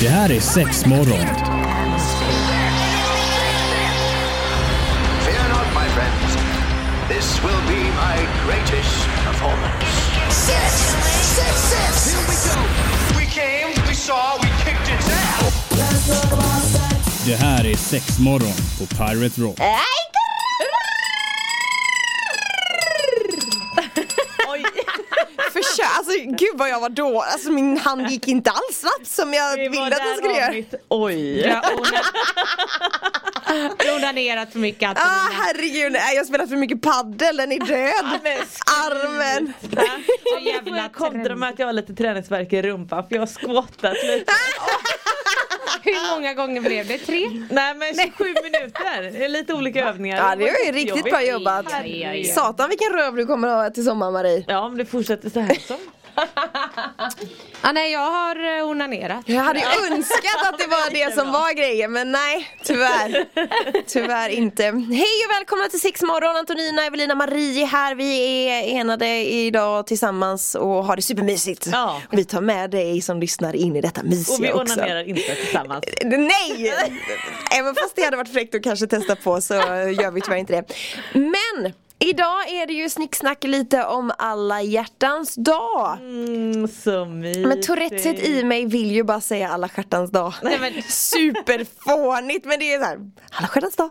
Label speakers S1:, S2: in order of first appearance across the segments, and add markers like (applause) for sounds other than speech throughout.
S1: Det här är sex morgon.
S2: Fear not, my friends. This will be my greatest performance.
S3: Six, six, six. Here we go.
S2: We came, we saw, we kicked its ass.
S1: Det här är sex morgon på Pirate Rock.
S4: Försök, alltså gud vad jag var då, alltså min hand gick inte alls snabbt som jag
S5: Det var
S4: ville att den
S5: där
S4: skulle göra.
S5: avsnitt- Oj. Jag har onan- Jag har onanerat för mycket
S4: Ah
S5: Antonina.
S4: herregud, nej, jag har spelat för mycket
S6: (laughs)
S4: paddel, den är död. Armen.
S5: Så jävla
S6: Jag kontra
S5: trend.
S6: med att jag har lite träningsvärk i rumpan för jag har squattat
S4: (laughs)
S6: lite.
S4: Ah!
S5: Hur många gånger blev det? Tre?
S6: Nej men 27 minuter, det är lite olika övningar.
S4: Ja det var ju
S6: var
S4: riktigt
S6: jobbigt.
S4: bra jobbat.
S5: Herregud.
S4: Satan vilken röv du kommer att ha till sommar Marie.
S6: Ja om det fortsätter så
S4: (laughs)
S6: här som.
S5: Ah, nej jag har eh, onanerat.
S4: Jag hade ju önskat att det var det som var grejen men nej tyvärr.
S6: (laughs)
S4: Tyvärr inte. Hej och välkomna till Six morgon. Antonina, Evelina, Marie här. Vi är enade idag tillsammans och har det supermysigt.
S6: Ja.
S4: Och vi tar med dig som lyssnar in i detta mysiga
S6: Och vi
S4: också.
S6: onanerar inte tillsammans.
S4: Nej! Även fast det hade varit fräckt att kanske testa på så gör vi tyvärr inte det. Men! Idag är det ju snicksnack lite om alla hjärtans dag.
S6: Mm, så mysigt.
S4: Men tourettet i mig vill ju bara säga alla hjärtans dag.
S5: Nej, men-
S4: (laughs) Superfånigt men det är så här, alla
S5: (laughs)
S4: hjärtans dag.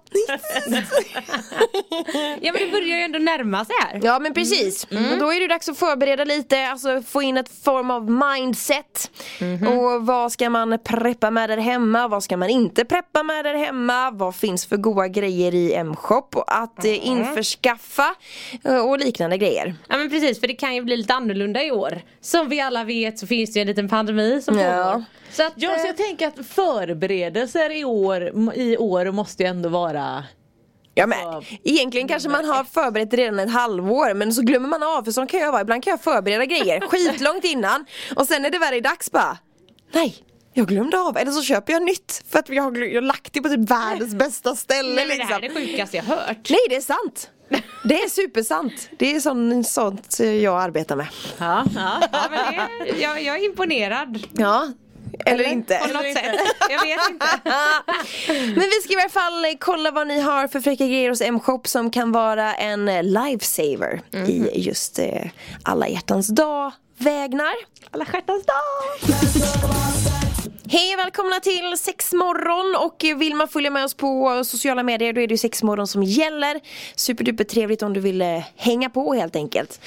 S5: Ja men det börjar ju ändå närma sig här.
S4: Ja men precis,
S5: Mm.
S4: och då är det dags att förbereda lite, alltså få in ett form av mindset
S5: Mhm.
S4: Och vad ska man preppa med där hemma, vad ska man inte preppa med där hemma Vad finns för goda grejer i M-shop och att
S5: Mm.
S4: eh, införskaffa eh, och liknande grejer
S5: Ja men precis för det kan ju bli lite annorlunda i år. Som vi alla vet så finns det ju en liten pandemi som
S4: Ja.
S5: pågår. Så att, eh,
S6: Ja så jag tänker att förberedelser i år, i år måste ju ändå vara
S4: Ja men
S6: Så-
S4: egentligen kanske man har förberett redan ett halvår men så glömmer man av för sån kan jag vara, ibland kan jag
S5: (laughs)
S4: förbereda grejer skitlångt innan och sen är det väl dags bara Nej, jag glömde av eller så köper jag nytt för att jag har, glö- jag har lagt det på
S5: (laughs)
S4: typ världens bästa ställe
S5: nej, men det
S4: liksom
S5: här är det sjukaste jag hört.
S4: Nej det
S5: (laughs)
S4: är sant! Det är supersant! Det är sån, sånt jag arbetar med
S6: Ja, ja.
S5: Ja, men det, jag, jag är imponerad.
S4: Ja, eller, inte
S5: På något sätt. Jag vet inte.
S4: (laughs) Men vi ska i alla fall eh, kolla vad ni har för fräcka grejer hos M-shop som kan vara en eh, lifesaver
S6: Mhm.
S4: i just eh, alla hjärtans dag vägnar.
S6: Alla stjärtans dag!
S4: Hej och välkomna till sexmorgon och eh, vill man följa med oss på eh, sociala medier då är det ju sexmorgon som gäller. Superduper trevligt om du vill eh, hänga på helt enkelt.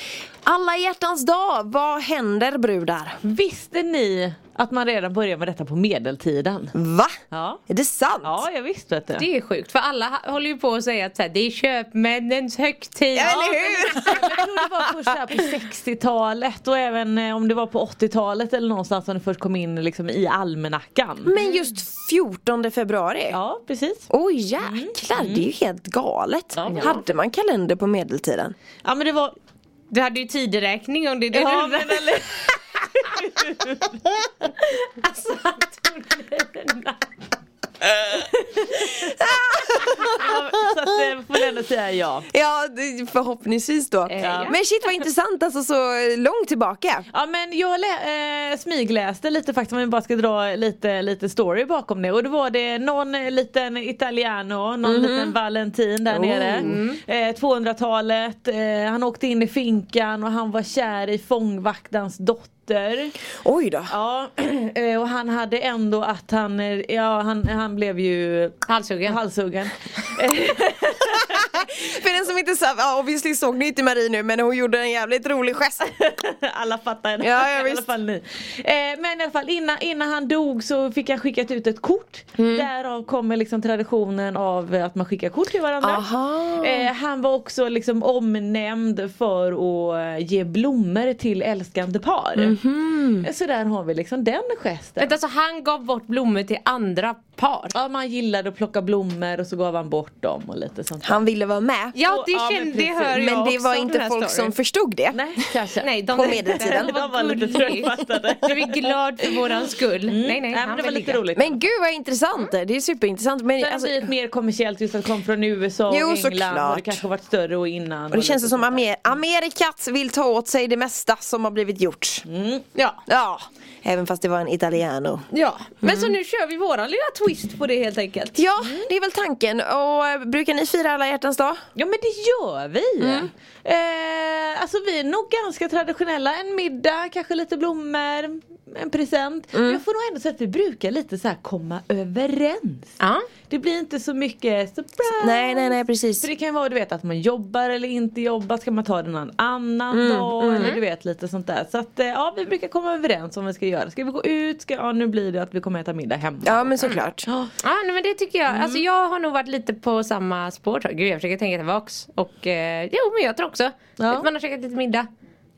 S4: Alla hjärtans dag, vad händer brudar?
S6: Visste ni att man redan började med detta på medeltiden?
S4: Va?
S6: Ja.
S4: Är det sant?
S6: Ja, jag visste vet du.
S5: Det är sjukt för alla ha- håller ju på att säga att så här, det är köpmännens högtid.
S4: Eller hur?
S6: Jag tror det var först där på 60-talet och även eh, om det var på 80-talet eller någonstans som det först kom in liksom i almanackan.
S4: Men just 14 februari?
S6: Ja, precis.
S4: Oj
S5: Mm.
S4: jäklar, det är ju helt galet.
S6: Ja, men-
S4: Hade man kalender på medeltiden?
S6: Ja men det var...
S5: Du hade ju tideräkning om det är det du
S6: Ja,
S5: undrar.
S6: men eller...
S5: Alltså Antonina.
S6: Så att eh, får jag ändå säga ja.
S4: Ja, det- förhoppningsvis då.
S5: Eh, Ja.
S4: Men shit vad intressant, alltså så långt tillbaka.
S6: Ja men jag lä- eh, smygläste lite faktiskt om jag bara ska dra lite, lite story bakom det och då var det någon eh, liten italiano, någon liten valentin där nere. Eh, 200-talet, eh, han åkte in i finkan och han var kär i fångvaktans dotter.
S4: Oj då.
S6: Ja, (clears throat) eh, och han hade ändå att han, eh, ja han, han blev ju
S5: Halshuggen.
S6: halshuggen. (laughs)
S4: För den som inte sa, ja obviously såg ni inte Marie nu men hon gjorde en jävligt rolig gest.
S6: alla fattar
S4: Ja,
S6: (laughs)
S4: ja,
S6: i alla
S4: visst.
S6: fall ni. Eh, men i alla fall innan, innan han dog så fick han skickat ut ett kort.
S4: Mm.
S6: Därav kommer liksom traditionen av eh, att man skickar kort till varandra.
S4: Aha.
S6: Eh, han var också liksom omnämnd för att eh, ge blommor till älskande
S4: Mhm.
S6: par. Eh, Så där har vi liksom den gesten.
S5: Vänta så han gav bort blommor till andra par.
S6: Ja man gillade att plocka blommor och så gav han bort dem och lite sånt.
S4: (laughs) Han ville vara med.
S5: Ja det
S6: Ja, men
S5: kände, det
S6: precis.
S5: hör jag
S4: men det
S5: också,
S4: var
S5: den
S4: inte
S5: här
S4: folk
S5: storyn.
S4: som förstod det.
S6: Nej kanske.
S5: Nej, (laughs) de
S4: På
S5: var-
S4: medeltiden.
S5: Det
S6: De var
S5: var
S6: lite
S5: gulligt. (laughs)
S6: tröttfattade.
S5: Jag är glad för våran skull. Nej nej,
S6: Mm. Nej, men
S5: han
S6: det var
S5: vill
S6: lite
S5: ligga.
S6: roligt.
S4: Men gud vad intressant det är. det är superintressant. Men,
S6: Sen
S4: alltså,
S6: blir det mer kommersiellt just att det kom från USA och
S4: Jo,
S6: England och det
S4: såklart.
S6: kanske varit större och innan.
S4: och det känns
S6: lite
S4: det som
S6: sånt där.
S4: Amer- Amerikat vill ta åt sig det mesta som har blivit gjort.
S5: Ja.
S4: Mm. Ja, även fast det var en italiano.
S5: Ja, men så nu kör vi våran lilla twist på det helt enkelt.
S4: Ja, det är väl tanken. Och eh, brukar ni fira alla hjärtans dag?
S6: Ja men det gör vi!
S4: Mm.
S6: Eh, alltså vi är nog ganska traditionella, en middag, kanske lite blommor, en present.
S4: Mm.
S6: Men jag får nog ändå säga att vi brukar lite så här komma överens.
S5: Ja.
S6: Det blir inte så mycket surprise.
S4: Nej, nej, nej, precis.
S6: För det kan ju vara du vet att man jobbar eller inte jobbar, ska man ta det någon annan
S5: Mm,
S6: dag eller du vet lite sånt där. Så att eh, ja vi brukar komma överens om vad vi ska göra. Ska vi gå ut? Ska, ja nu blir det att vi kommer äta middag hemma.
S4: Ja, men såklart.
S5: Ja nej, men det tycker jag. Alltså jag har nog varit lite på samma spår. tror jag. Gud jag försöker tänka tillbaks. Och eh, jo men jag tror också.
S6: Ja.
S5: Att man har käkat lite middag.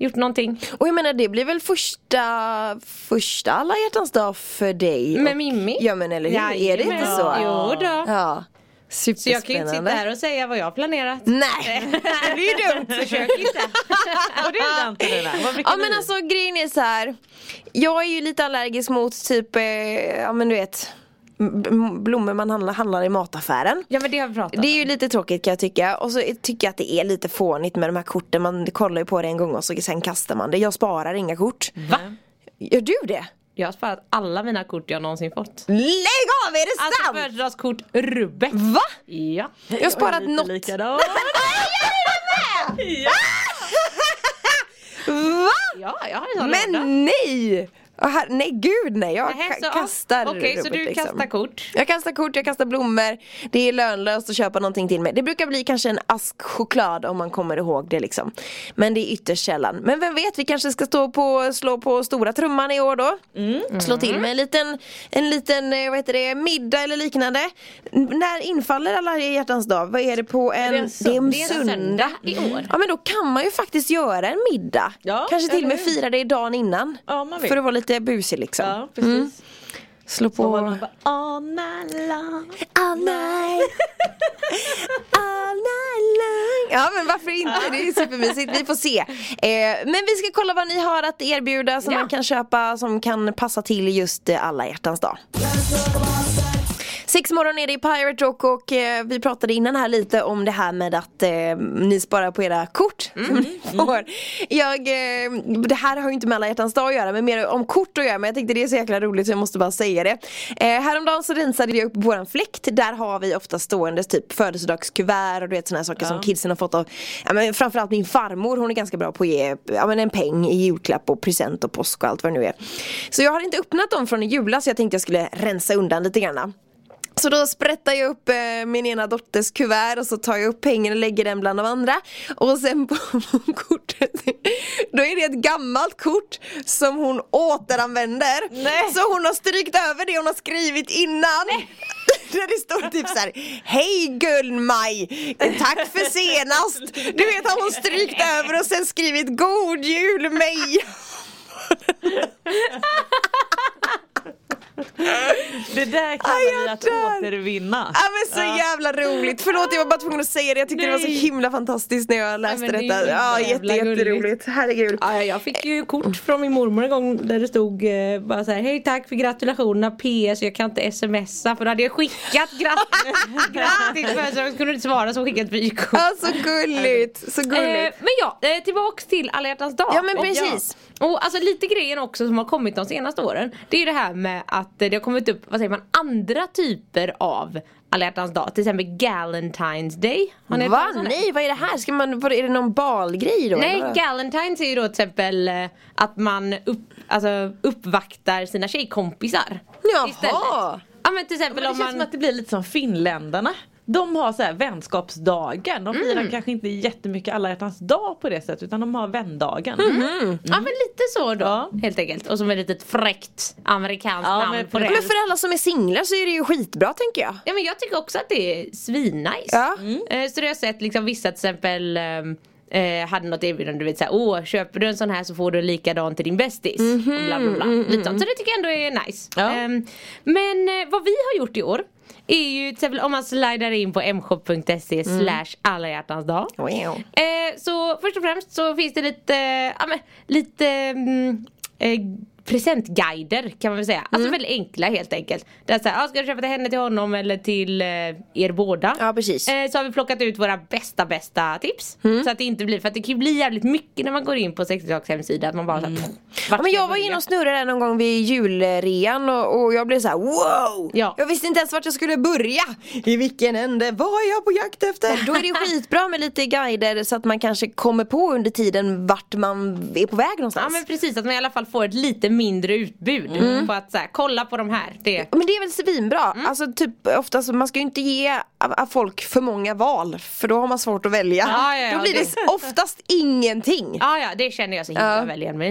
S5: Gjort någonting.
S4: Och jag menar det blir väl första, första alla hjärtans dag för dig?
S5: Med
S4: Och-
S5: Mimmi.
S4: Ja men eller hur, är det inte
S5: Jajamän.
S4: så?
S5: Jo då.
S4: Ja.
S5: Så jag kan ju inte sitta här och säga vad jag har planerat.
S4: Nej, (laughs) det är ju dumt.
S5: Försök inte.
S6: (laughs) Och det är inte det där. Vad brukar
S4: Ja men
S6: ni?
S4: alltså grejen är så här. Jag är ju lite allergisk mot typ, eh, ja men du vet b- m- Blommor man handlar, handlar i mataffären
S5: Ja men det har vi pratat om.
S4: Det är ju lite tråkigt kan jag tycka och så tycker jag att det är lite fånigt med de här korten Man kollar ju på det en gång och så sen kastar man det Jag sparar inga kort
S5: Va?
S4: Gör du det?
S5: Jag har sparat alla mina kort jag någonsin fått.
S6: Alltså,
S4: Lägg av, är det
S5: Alltså
S4: sant?
S5: födelsedagskort rubbet.
S4: Va?
S5: Ja.
S4: Jag har sparat
S6: lite
S4: något
S6: likadant.
S4: Va?
S5: (laughs) Ja, jag har en sån låda.
S4: Men nej! Och här, nej gud nej, jag
S5: Nähä,
S4: ka-
S5: så-
S4: kastar
S5: Okej, så
S4: rubbet,
S5: du
S4: liksom.
S5: kastar kort.
S4: Jag kastar kort, jag kastar blommor Det är lönlöst att köpa någonting till mig Det brukar bli kanske en ask choklad om man kommer ihåg det liksom Men det är ytterst sällan Men vem vet, vi kanske ska stå på, slå på stora trumman i år då Mm. Slå till med en liten, en liten eh, vad heter det, middag eller liknande N- När infaller alla hjärtans dag? Vad är det på en,
S6: en
S4: det är en
S5: Det är en söndag i år.
S4: Ja men då kan man ju faktiskt göra en middag.
S6: Ja,
S4: Kanske till och med
S6: eller hur?
S4: fira det dagen innan.
S6: Ja, man vet.
S4: för att vara lite busig liksom.
S6: Ja precis.
S5: Mm.
S4: Slå på...
S6: Och man bara, "All night long."
S4: All night. All night long. Ja men varför inte, det är ju supermysigt. Vi får se. Eh, men vi ska kolla vad ni har att erbjuda som
S5: Ja.
S4: man kan köpa som kan passa till just eh, alla hjärtans dag. Sex morgon är det i Pirate Rock och eh, vi pratade innan här lite om det här med att eh, ni sparar på era kort som (laughs) ni får. Jag, eh, det här har ju inte med alla hjärtans dag att göra men mer om kort att göra men jag tänkte det är så jäkla roligt så jag måste bara säga det. Eh, häromdagen så rensade vi upp våran fläkt, där har vi ofta stående typ födelsedagskuvert och du vet sådana här saker som kidsen har fått av ja, men framförallt min farmor hon är ganska bra på att ge ja, men en peng i julklapp och present och påsk och allt vad det nu är. Så jag hade inte öppnat dem från i julas så jag tänkte jag skulle rensa undan lite grann. Så då sprättar jag upp eh, min ena dotters kuvert och så tar jag upp pengarna och lägger den bland de andra. Och sen på (laughs) kortet, då är det ett gammalt kort som hon återanvänder.
S6: Nej.
S4: Så hon har strykt över det hon har skrivit innan. (laughs) Där det står typ så här: Hej Gun-Maj, tack för senast. Du vet har hon strykt över och sen skrivit God Jul Meja.
S6: Det där
S4: Aj,
S6: kallar
S4: jag
S6: vi att
S4: dör.
S6: återvinna.
S4: Ja men så jävla roligt, förlåt jag var bara tvungen att säga det, jag tyckte det var
S5: Nej.
S4: så himla fantastiskt när jag läste
S5: men det är ju
S4: detta. Ja jätte,
S5: jävla
S4: jätteroligt,
S5: gulligt.
S4: herregud.
S5: Ja, jag fick ju kort från min mormor en gång där det stod eh, bara så här, hej tack för gratulationerna PS jag kan inte smsa för då hade jag skickat grat- (laughs) grattis födelsedagen så kunde du inte svara så hon skickade ett vykort.
S4: Ja så gulligt, så
S5: Eh,
S4: gulligt.
S5: men ja, eh, tillbaks till alla hjärtans dag.
S4: Ja, men
S5: Och-
S4: precis.
S5: Ja. Och alltså lite grejen också som har kommit de senaste åren. Det är ju det här med att eh, det har kommit upp, vad säger man, andra typer av alla hjärtans dag. Till exempel Galentine's Day. Har ni hört
S4: Va?
S5: talas om det?
S4: Nej vad är det här? Ska man, vad, är det någon balgrej då?
S5: Nej,
S4: eller vad?
S5: Galentine's är ju då till exempel eh, att man upp, alltså, uppvaktar sina tjejkompisar.
S4: Jaha.
S5: Ja men till exempel
S6: Men det
S5: om
S6: känns
S5: man...
S6: som att det blir lite som finländarna. De har så här vänskapsdagen. De firar kanske inte jättemycket alla hjärtans dag på det sättet utan de har vändagen.
S5: Ja men lite så då helt enkelt. Och som ett litet fräckt amerikanskt
S6: Ja, men
S5: namn på det.
S4: Ja, Men för alla som är singlar så är det ju skitbra tänker jag.
S5: Ja men jag tycker också att det är svinnice.
S4: Ja.
S5: Eh, Så det har jag sett liksom vissa till exempel ehm, eh, hade något erbjudande, du vet såhär, åh köper du en sån här så får du likadan till din bästis. och bla bla bla. Lite sånt, så det tycker jag ändå är nice.
S6: Ja.
S5: Ehm, men eh, vad vi har gjort i år är ju till exempel om man slidar in på mshop.se slash alla hjärtans dag.
S4: Wow.
S5: Eh, så först och främst så finns det lite, eh, ja men lite mm, eh, presentguider kan man väl säga.
S4: Mm.
S5: Alltså väldigt enkla helt enkelt. Det är såhär, ah, ska du köpa till henne, till honom eller till eh, er båda?
S4: Ja, precis.
S5: Eh, så har vi plockat ut våra bästa bästa tips.
S4: Mm.
S5: Så att det inte blir, för att det kan ju bli jävligt mycket när man går in på 60-tals hemsida att man bara såhär, pff, vart
S4: Mm. Ja, men
S5: ska
S4: jag var
S5: börja?
S4: inne och snurrade där någon gång vid julrean och, och jag blev så här: wow!
S5: Ja.
S4: Jag visste inte ens vart jag skulle börja! I vilken ände? Vad är jag på jakt efter? Då är det skitbra med lite guider så att man kanske kommer på under tiden vart man är på väg någonstans.
S5: Ja men precis, att man i alla fall får ett lite mindre utbud.
S4: Mm.
S5: På att såhär, kolla på de här. Det.
S4: Men det är väl svinbra. Alltså typ oftast, man ska ju inte ge a- a- folk för många val för då har man svårt att välja.
S5: Ja, ja, ja,
S4: då blir det,
S5: det-
S4: s- oftast ingenting.
S5: Ja, ja, det känner jag så himla
S4: Ja.
S5: väl igen mig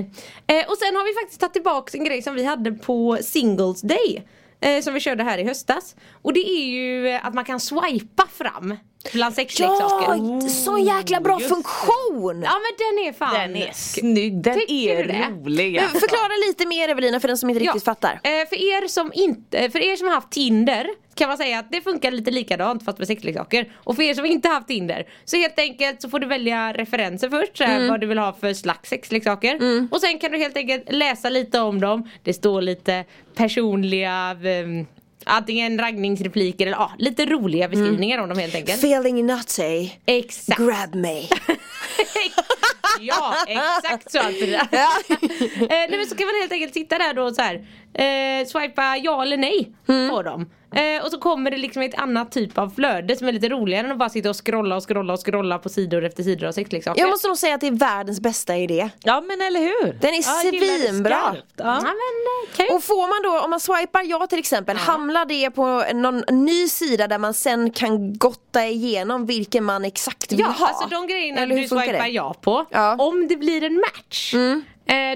S5: i. eh, Och sen har vi faktiskt tagit tillbaka en grej som vi hade på Singles Day. Eh, som vi körde här i höstas. Och det är ju eh, att man kan swipa fram bland sexleksaker.
S4: så jäkla bra funktion!
S5: Ja men den är fan
S6: Den är snygg, den
S5: Tycker
S6: är
S5: du det?
S6: rolig.
S4: Men Förklara lite mer Evelina för den som inte riktigt fattar.
S5: Eh, för, er som inte, eh, för er som har haft Tinder kan man säga att det funkar lite likadant fast med sexleksaker. Och för er som inte har haft Tinder så helt enkelt så får du välja referenser först, såhär,
S4: Mm.
S5: vad du vill ha för slags sexleksaker. Och sen kan du helt enkelt läsa lite om dem. Det står lite personliga ehm, Antingen raggningsrepliker eller ja, lite roliga beskrivningar om dem helt enkelt.
S4: Feeling nutty,
S5: Exakt!
S4: grab me.
S5: (laughs) ja, exakt så Antonina.
S4: Ja.
S5: (laughs) eh, nej, men så kan man helt enkelt sitta där då och så här, eh, swipa ja eller nej
S4: Mm.
S5: på dem. Eh, och så kommer det liksom ett annat typ av flöde som är lite roligare än att bara sitta och scrolla och scrolla och scrolla på sidor efter sidor av sexleksaker.
S4: (laughs) Jag måste nog säga att det är världens bästa idé.
S6: Ja men eller hur?
S4: Den är
S6: ja, jag gillar det
S4: svinbra.
S6: skarpt.
S5: ja.
S6: Ja.
S5: men, eh, kan ju-
S4: Och får man då, om man swipar ja till exempel, hamnar det på någon ny sida där man sen kan gotta igenom vilken man exakt vill
S5: Ja,
S4: ha?
S5: alltså de grejerna
S4: Eller hur
S5: du
S4: funkar
S5: swipar
S4: det?
S5: ja på,
S4: Ja. Mm.
S5: om det blir en match, eh,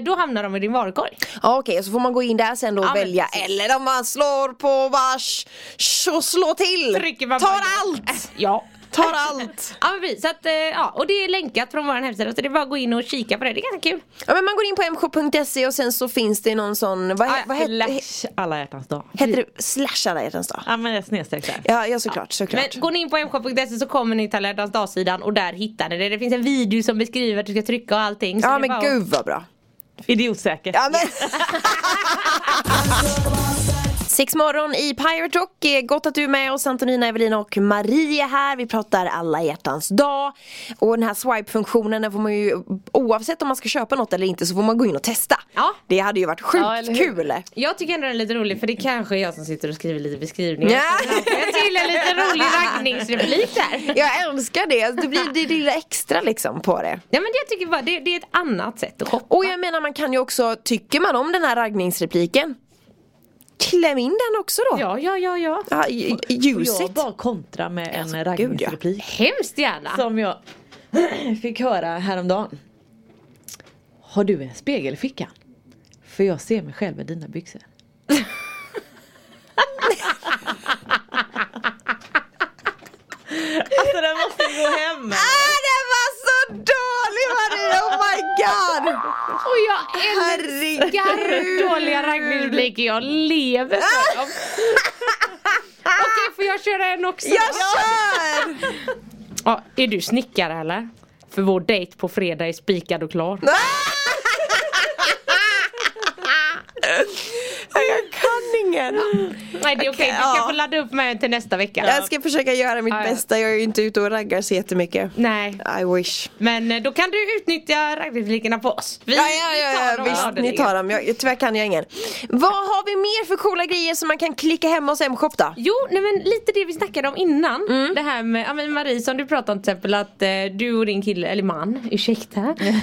S5: då hamnar de i din varukorg.
S4: Ja okej, så får man gå in där sen då och
S5: Ja, men
S4: välja.
S5: precis.
S4: Eller om man slår på bara sh, sh, och slå till!
S5: Trycker man
S4: Tar
S5: bara-
S4: allt!
S5: Ja.
S4: Tar
S5: (laughs)
S4: allt!
S5: Ja, men precis. så att, eh, ja, och det är länkat från vår hemsida så det är bara att gå in och kika på det, det är ganska kul.
S4: Ja, men man går in på mshop.se och sen så finns det någon sån,
S5: Ah,
S4: vad, he- vad heter, he,
S6: Slash alla hjärtans dag.
S4: heter det? Slash alla hjärtans dag?
S6: Ja men jag snedstreck där.
S4: Ja, ja såklart, såklart.
S5: Men går ni in på mshop.se så kommer ni till alla hjärtans dagsidan och där hittar ni det. Det finns en video som beskriver att du ska trycka och allting. Så det
S4: ja
S5: är bara
S4: men
S5: att-
S4: gud vad bra.
S6: Idiotsäker.
S4: Ja, men... (laughs) Sex morgon i Pirate Rock. Eh, Gott att du är med oss. Antonina, Evelina och Marie är här. Vi pratar alla hjärtans dag. Och den här swipe-funktionen, den får man ju oavsett om man ska köpa något eller inte så får man gå in och testa.
S5: Ja.
S4: Det hade ju varit
S6: Ja, eller
S4: sjukt
S6: hur?
S4: kul.
S5: Jag tycker ändå den är lite rolig för det kanske är jag som sitter och skriver lite beskrivningar.
S4: Ja.
S5: Så Jag får till en lite rolig raggningsreplik där.
S4: Jag älskar det. Det blir det lilla extra liksom på det.
S5: Ja men jag tycker bara det, det är ett annat sätt att shoppa.
S4: Och jag menar man kan ju också, tycker man om den här raggningsrepliken Kläm in den också då.
S5: Ja, ja, ja, ja.
S4: Ja, Ah, i- i
S6: Och jag
S4: ljuset.
S6: bara kontra med en
S4: Alltså,
S6: alltså,
S4: gud,
S6: raggningsreplik.
S5: Hemskt gärna.
S6: Som jag (clears throat) fick höra häromdagen. Har du en spegel i fickan? För jag ser mig själv i dina byxor. (laughs) alltså den måste ju gå hem.
S4: Ah, den var så dålig Maria! Oh my god!
S5: Och jag
S4: Herregud!
S5: älskar dåliga raggningsrepliker. Jag lever för
S4: (laughs)
S5: dem. Okej, får jag köra en också?
S4: Jag kör!
S5: (laughs) Ja, är du snickare eller? För vår dejt på fredag är spikad och klar.
S4: Jag kan ingen!
S5: Nej det är okej,
S4: Okej,
S5: du
S4: ja.
S5: kan få ladda upp mig till nästa vecka.
S4: Jag ska försöka göra mitt
S5: Ja, ja.
S4: bästa, jag är ju inte ute och raggar så jättemycket.
S5: Nej,
S4: I wish.
S5: men eh, då kan du utnyttja raggningsreplikerna på oss. Vi,
S4: Ja, ja, ja,
S5: vi tar
S4: ja
S5: dem
S4: visst,
S5: gladeligen.
S4: ni tar dem. Jag, tyvärr kan jag ingen. Vad har vi mer för coola grejer som man kan klicka hemma hos M-shop då?
S5: Jo, nej men lite det vi snackade om innan.
S6: Mm.
S5: Det här med ja, men Marie som du pratade om till exempel att eh, du och din kille, eller man,
S6: (laughs)
S5: ursäkta.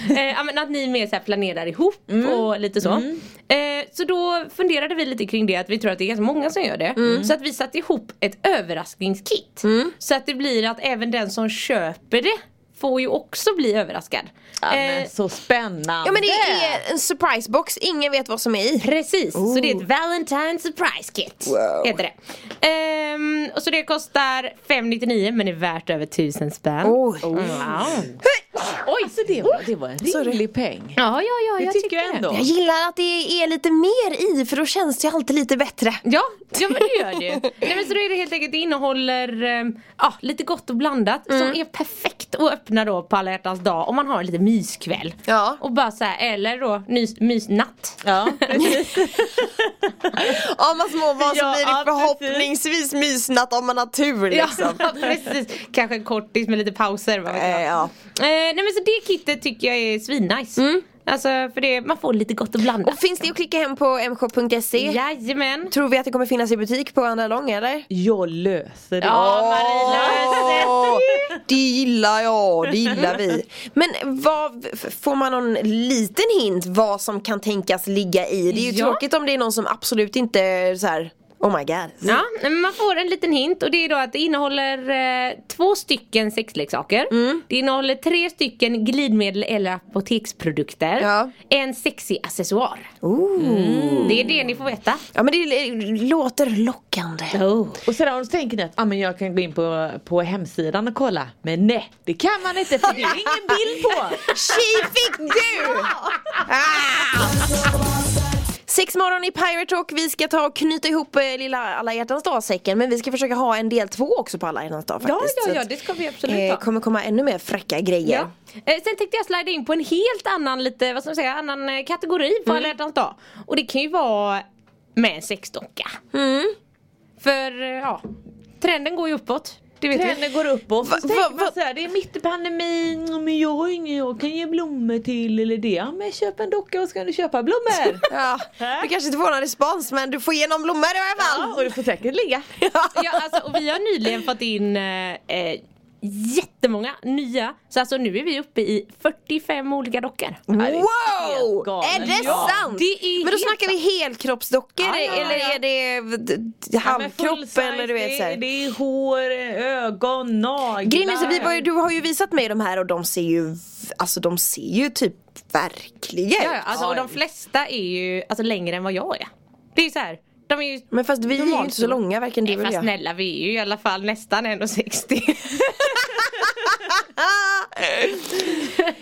S5: eh, ja, men att ni mer så här planerar ihop
S6: Mm.
S5: och lite så. Eh, så då funderade vi lite kring det att vi tror att det är ganska många som gör det.
S6: Mm.
S5: Så att vi satte ihop ett överraskningskit. Så att det blir att även den som köper det får ju också bli överraskad.
S6: Ja,
S5: Eh,
S6: men så spännande.
S4: Ja men det är en surprisebox, ingen vet vad som är i.
S5: Precis, så det är ett Valentine surprise kit.
S4: Wow.
S5: Heter det. Ehm, Ehm, och så det kostar 599 men är värt över 1000 spänn.
S4: Oj.
S5: Wow.
S6: Oj! Alltså det var, det var en rimlig peng.
S5: Ja, ja, ja,
S6: Det
S5: jag
S6: tycker
S5: tycker
S6: jag ändå.
S4: Jag gillar att det är lite mer i för då känns det alltid lite bättre.
S5: Ja, ja men det gör det ju. Nej, men så då är det helt enkelt, det innehåller ehm, ja, lite gott och blandat som är perfekt att öppna då på alla hjärtans dag om man har en liten myskväll.
S4: Ja.
S5: Och bara så här, eller då nys, mysnatt.
S6: Ja, precis.
S4: Om man små barn så
S6: Ja,
S4: blir det
S6: ja,
S4: förhoppningsvis mysnatt om man har tur liksom.
S5: (laughs) Ja, precis. Kanske en kortis med lite pauser. Vad vet jag.
S4: Eh, ja. Mm.
S5: Eh, nej men så det kittet tycker jag är svinnice. Alltså för det, man får lite gott och blandat.
S4: (laughs) Och finns det att klicka hem på mshop.se?
S5: Jajamän.
S4: Tror vi att det kommer finnas i butik på andra lång eller?
S6: Jag löser det.
S5: Ja Marie
S4: (laughs) Åh,
S5: löser det.
S4: Det gillar jag, det gillar vi. Men vad, f- får man någon liten hint vad som kan tänkas ligga i? Det är ju
S5: Ja.
S4: tråkigt om det är någon som absolut inte är så här, oh my god.
S5: Ja, men man får en liten hint och det är då att det innehåller eh, två stycken sexleksaker.
S4: Mm.
S5: Det innehåller tre stycken glidmedel eller apoteksprodukter.
S4: Ja.
S5: En sexig accessoar. Mm.
S4: Ooh.
S5: Det är det ni får veta.
S4: Ja men det l- låter lockande.
S6: Oh. Och sen om du tänker ni att ah, men jag kan gå in på, på hemsidan och kolla. Men nej, det kan man inte för det är ingen bild
S4: (laughs)
S6: på.
S4: Tji fick du! Ah! Sex morgon i Pirate Rock, vi ska ta och knyta ihop eh, lilla alla hjärtans dag-säcken men vi ska försöka ha en del två också på alla hjärtans dag faktiskt. Så att,
S5: ska vi
S4: eh, kommer komma ännu mer fräcka grejer.
S5: Ja. Eh, sen tänkte jag slida in på en helt annan lite, vad ska man säga, annan eh, kategori på alla hjärtans dag. Och det kan ju vara med en sexdocka. Mm. För eh, ja, trenden går ju uppåt. Det vet vi.
S6: Trenden går uppåt.
S4: Va-
S6: Så tänker
S4: va-
S6: man
S4: va-
S6: så här, det är mitt i pandemin, ja, men jag har ingen jag kan ge blommor till eller det. Ja, men köp en docka och ska du köpa
S4: (laughs)
S6: blommor.
S4: Ja, du kanske inte får någon respons men du får igenom blommor i alla
S6: Ja, och
S4: (laughs) fall.
S6: du får säkert ligga.
S5: Ja, alltså, och vi har nyligen fått in eh, eh, jättemånga nya. Så alltså nu är vi uppe i 45 olika dockor.
S4: Wow!
S6: galet.
S4: Är det
S6: Ja,
S4: sant?
S5: det är
S4: men då
S5: helt
S4: snackar vi helkroppsdockor
S5: Ja, ja, ja,
S4: eller
S5: ja.
S4: är det d- d-
S6: Ja, men full
S4: halvkropp
S6: size,
S4: eller du vet
S6: det, är-
S4: såhär?
S6: det är hår, ögon, naglar.
S4: Grejen är så, vi var ju, du har ju visat mig de här och de ser ju, alltså de ser ju typ verkliga
S5: Ja, ja,
S4: ut.
S5: alltså, och de flesta är ju alltså, längre än vad jag är. Det är ju så här. De är ju
S4: Men fast vi är ju inte så långa varken du
S5: Nej,
S4: eller
S5: fast
S4: jag.
S5: snälla vi Mm, är ju i alla fall nästan (laughs) 1,60.
S4: Ah!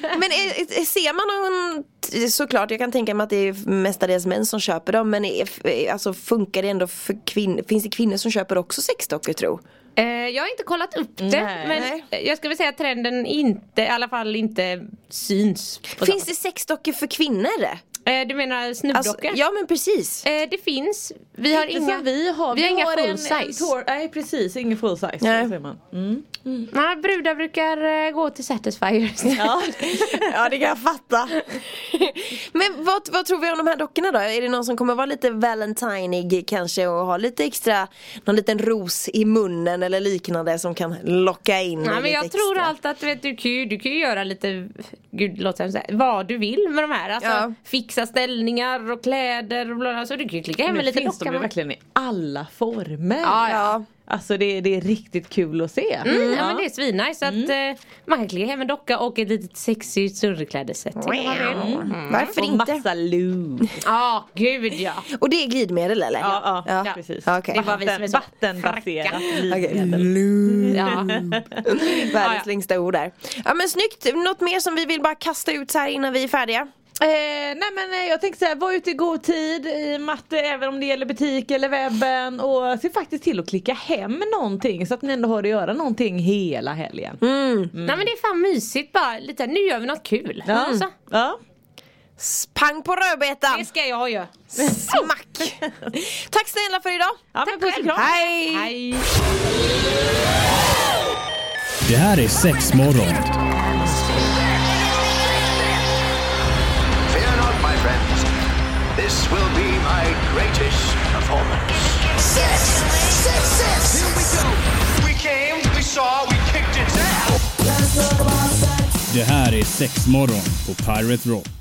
S4: Men är, är, ser man någon, t- såklart jag kan tänka mig att det är mestadels män som köper dem men är, är- alltså funkar det ändå för kvinnor, finns det kvinnor som köper också sexdockor tro?
S5: Eh, jag har inte kollat upp det
S6: Nej.
S5: men eh, jag skulle vilja säga att trenden inte, i alla fall inte syns. På
S4: Finns det sexdockor för kvinnor?
S5: samma- eh, du menar
S4: Alltså,
S5: snubbdockor?
S4: ja men precis.
S5: eh, det finns, vi har
S6: Inte
S5: inga,
S6: som vi har.
S5: vi har inga
S6: en-
S5: full
S6: en
S5: size.
S6: tår- nej precis, ingen full size.
S4: Nej.
S6: så säger man. Mm.
S5: Nej, brudar brukar eh, gå till
S6: (laughs)
S5: Satisfyers.
S6: Ja.
S4: Ja det kan jag fatta. Men vad, vad tror vi om de här dockorna då? Är det någon som kommer vara lite valentinig kanske och ha lite extra Någon liten ros i munnen eller liknande som kan locka in
S5: Nej,
S4: lite
S5: men jag
S4: extra.
S5: tror allt att vet, du, kan ju, du kan ju göra lite, gud det låter hemskt här, vad du vill med de här. Alltså,
S4: Ja.
S5: Fixa ställningar och kläder och bla, bla, så du kan ju klicka hem en
S6: Men
S5: liten
S6: finns de
S5: docka.
S6: ju
S5: med.
S6: verkligen i alla former.
S5: Ja,
S4: Ja.
S6: Alltså det, det är riktigt kul att se.
S5: Mm, ja. men det är svinnice så att
S6: Mm.
S5: eh, man kan klicka hem en docka och ett litet sexigt surrklädeset. till om man vill. Mm.
S4: Varför
S6: Och
S4: inte?
S6: massa loo.
S5: Ja, gud ja.
S4: Och det är glidmedel eller?
S6: Ja, ja, precis.
S4: Ja, okej.
S5: Det var vi som är så
S6: Vattenbaserat
S5: fräcka.
S4: Okej.
S6: livmedel. Mm.
S5: (laughs) ja.
S4: Världens
S5: Ja, ja.
S4: längsta ord där. Ja men snyggt, något mer som vi vill bara kasta ut så här innan vi är färdiga?
S6: Eh, nej men eh, jag tänker så här, var ute i god tid i matte även om det gäller butik eller webben och se faktiskt till att klicka hem någonting så att ni ändå har att göra någonting hela helgen.
S5: Mm. Nej men det är fan mysigt bara. Lite, nu gör vi något kul.
S6: Ja.
S5: Alltså,
S6: Ja.
S4: Pang på rödbetan!
S5: det ska jag göra.
S4: Smack! Tack snälla för idag!
S6: Ja, men puss och kram.
S4: Hej!
S5: Hej!
S1: Det här är sex morgon.
S2: Fear not, my friends. This will be my greatest performance.
S3: Six, six, six. Here we go.
S2: We came, we saw, we kicked its ass.
S1: Det här är sex morgon på Pirate Rock.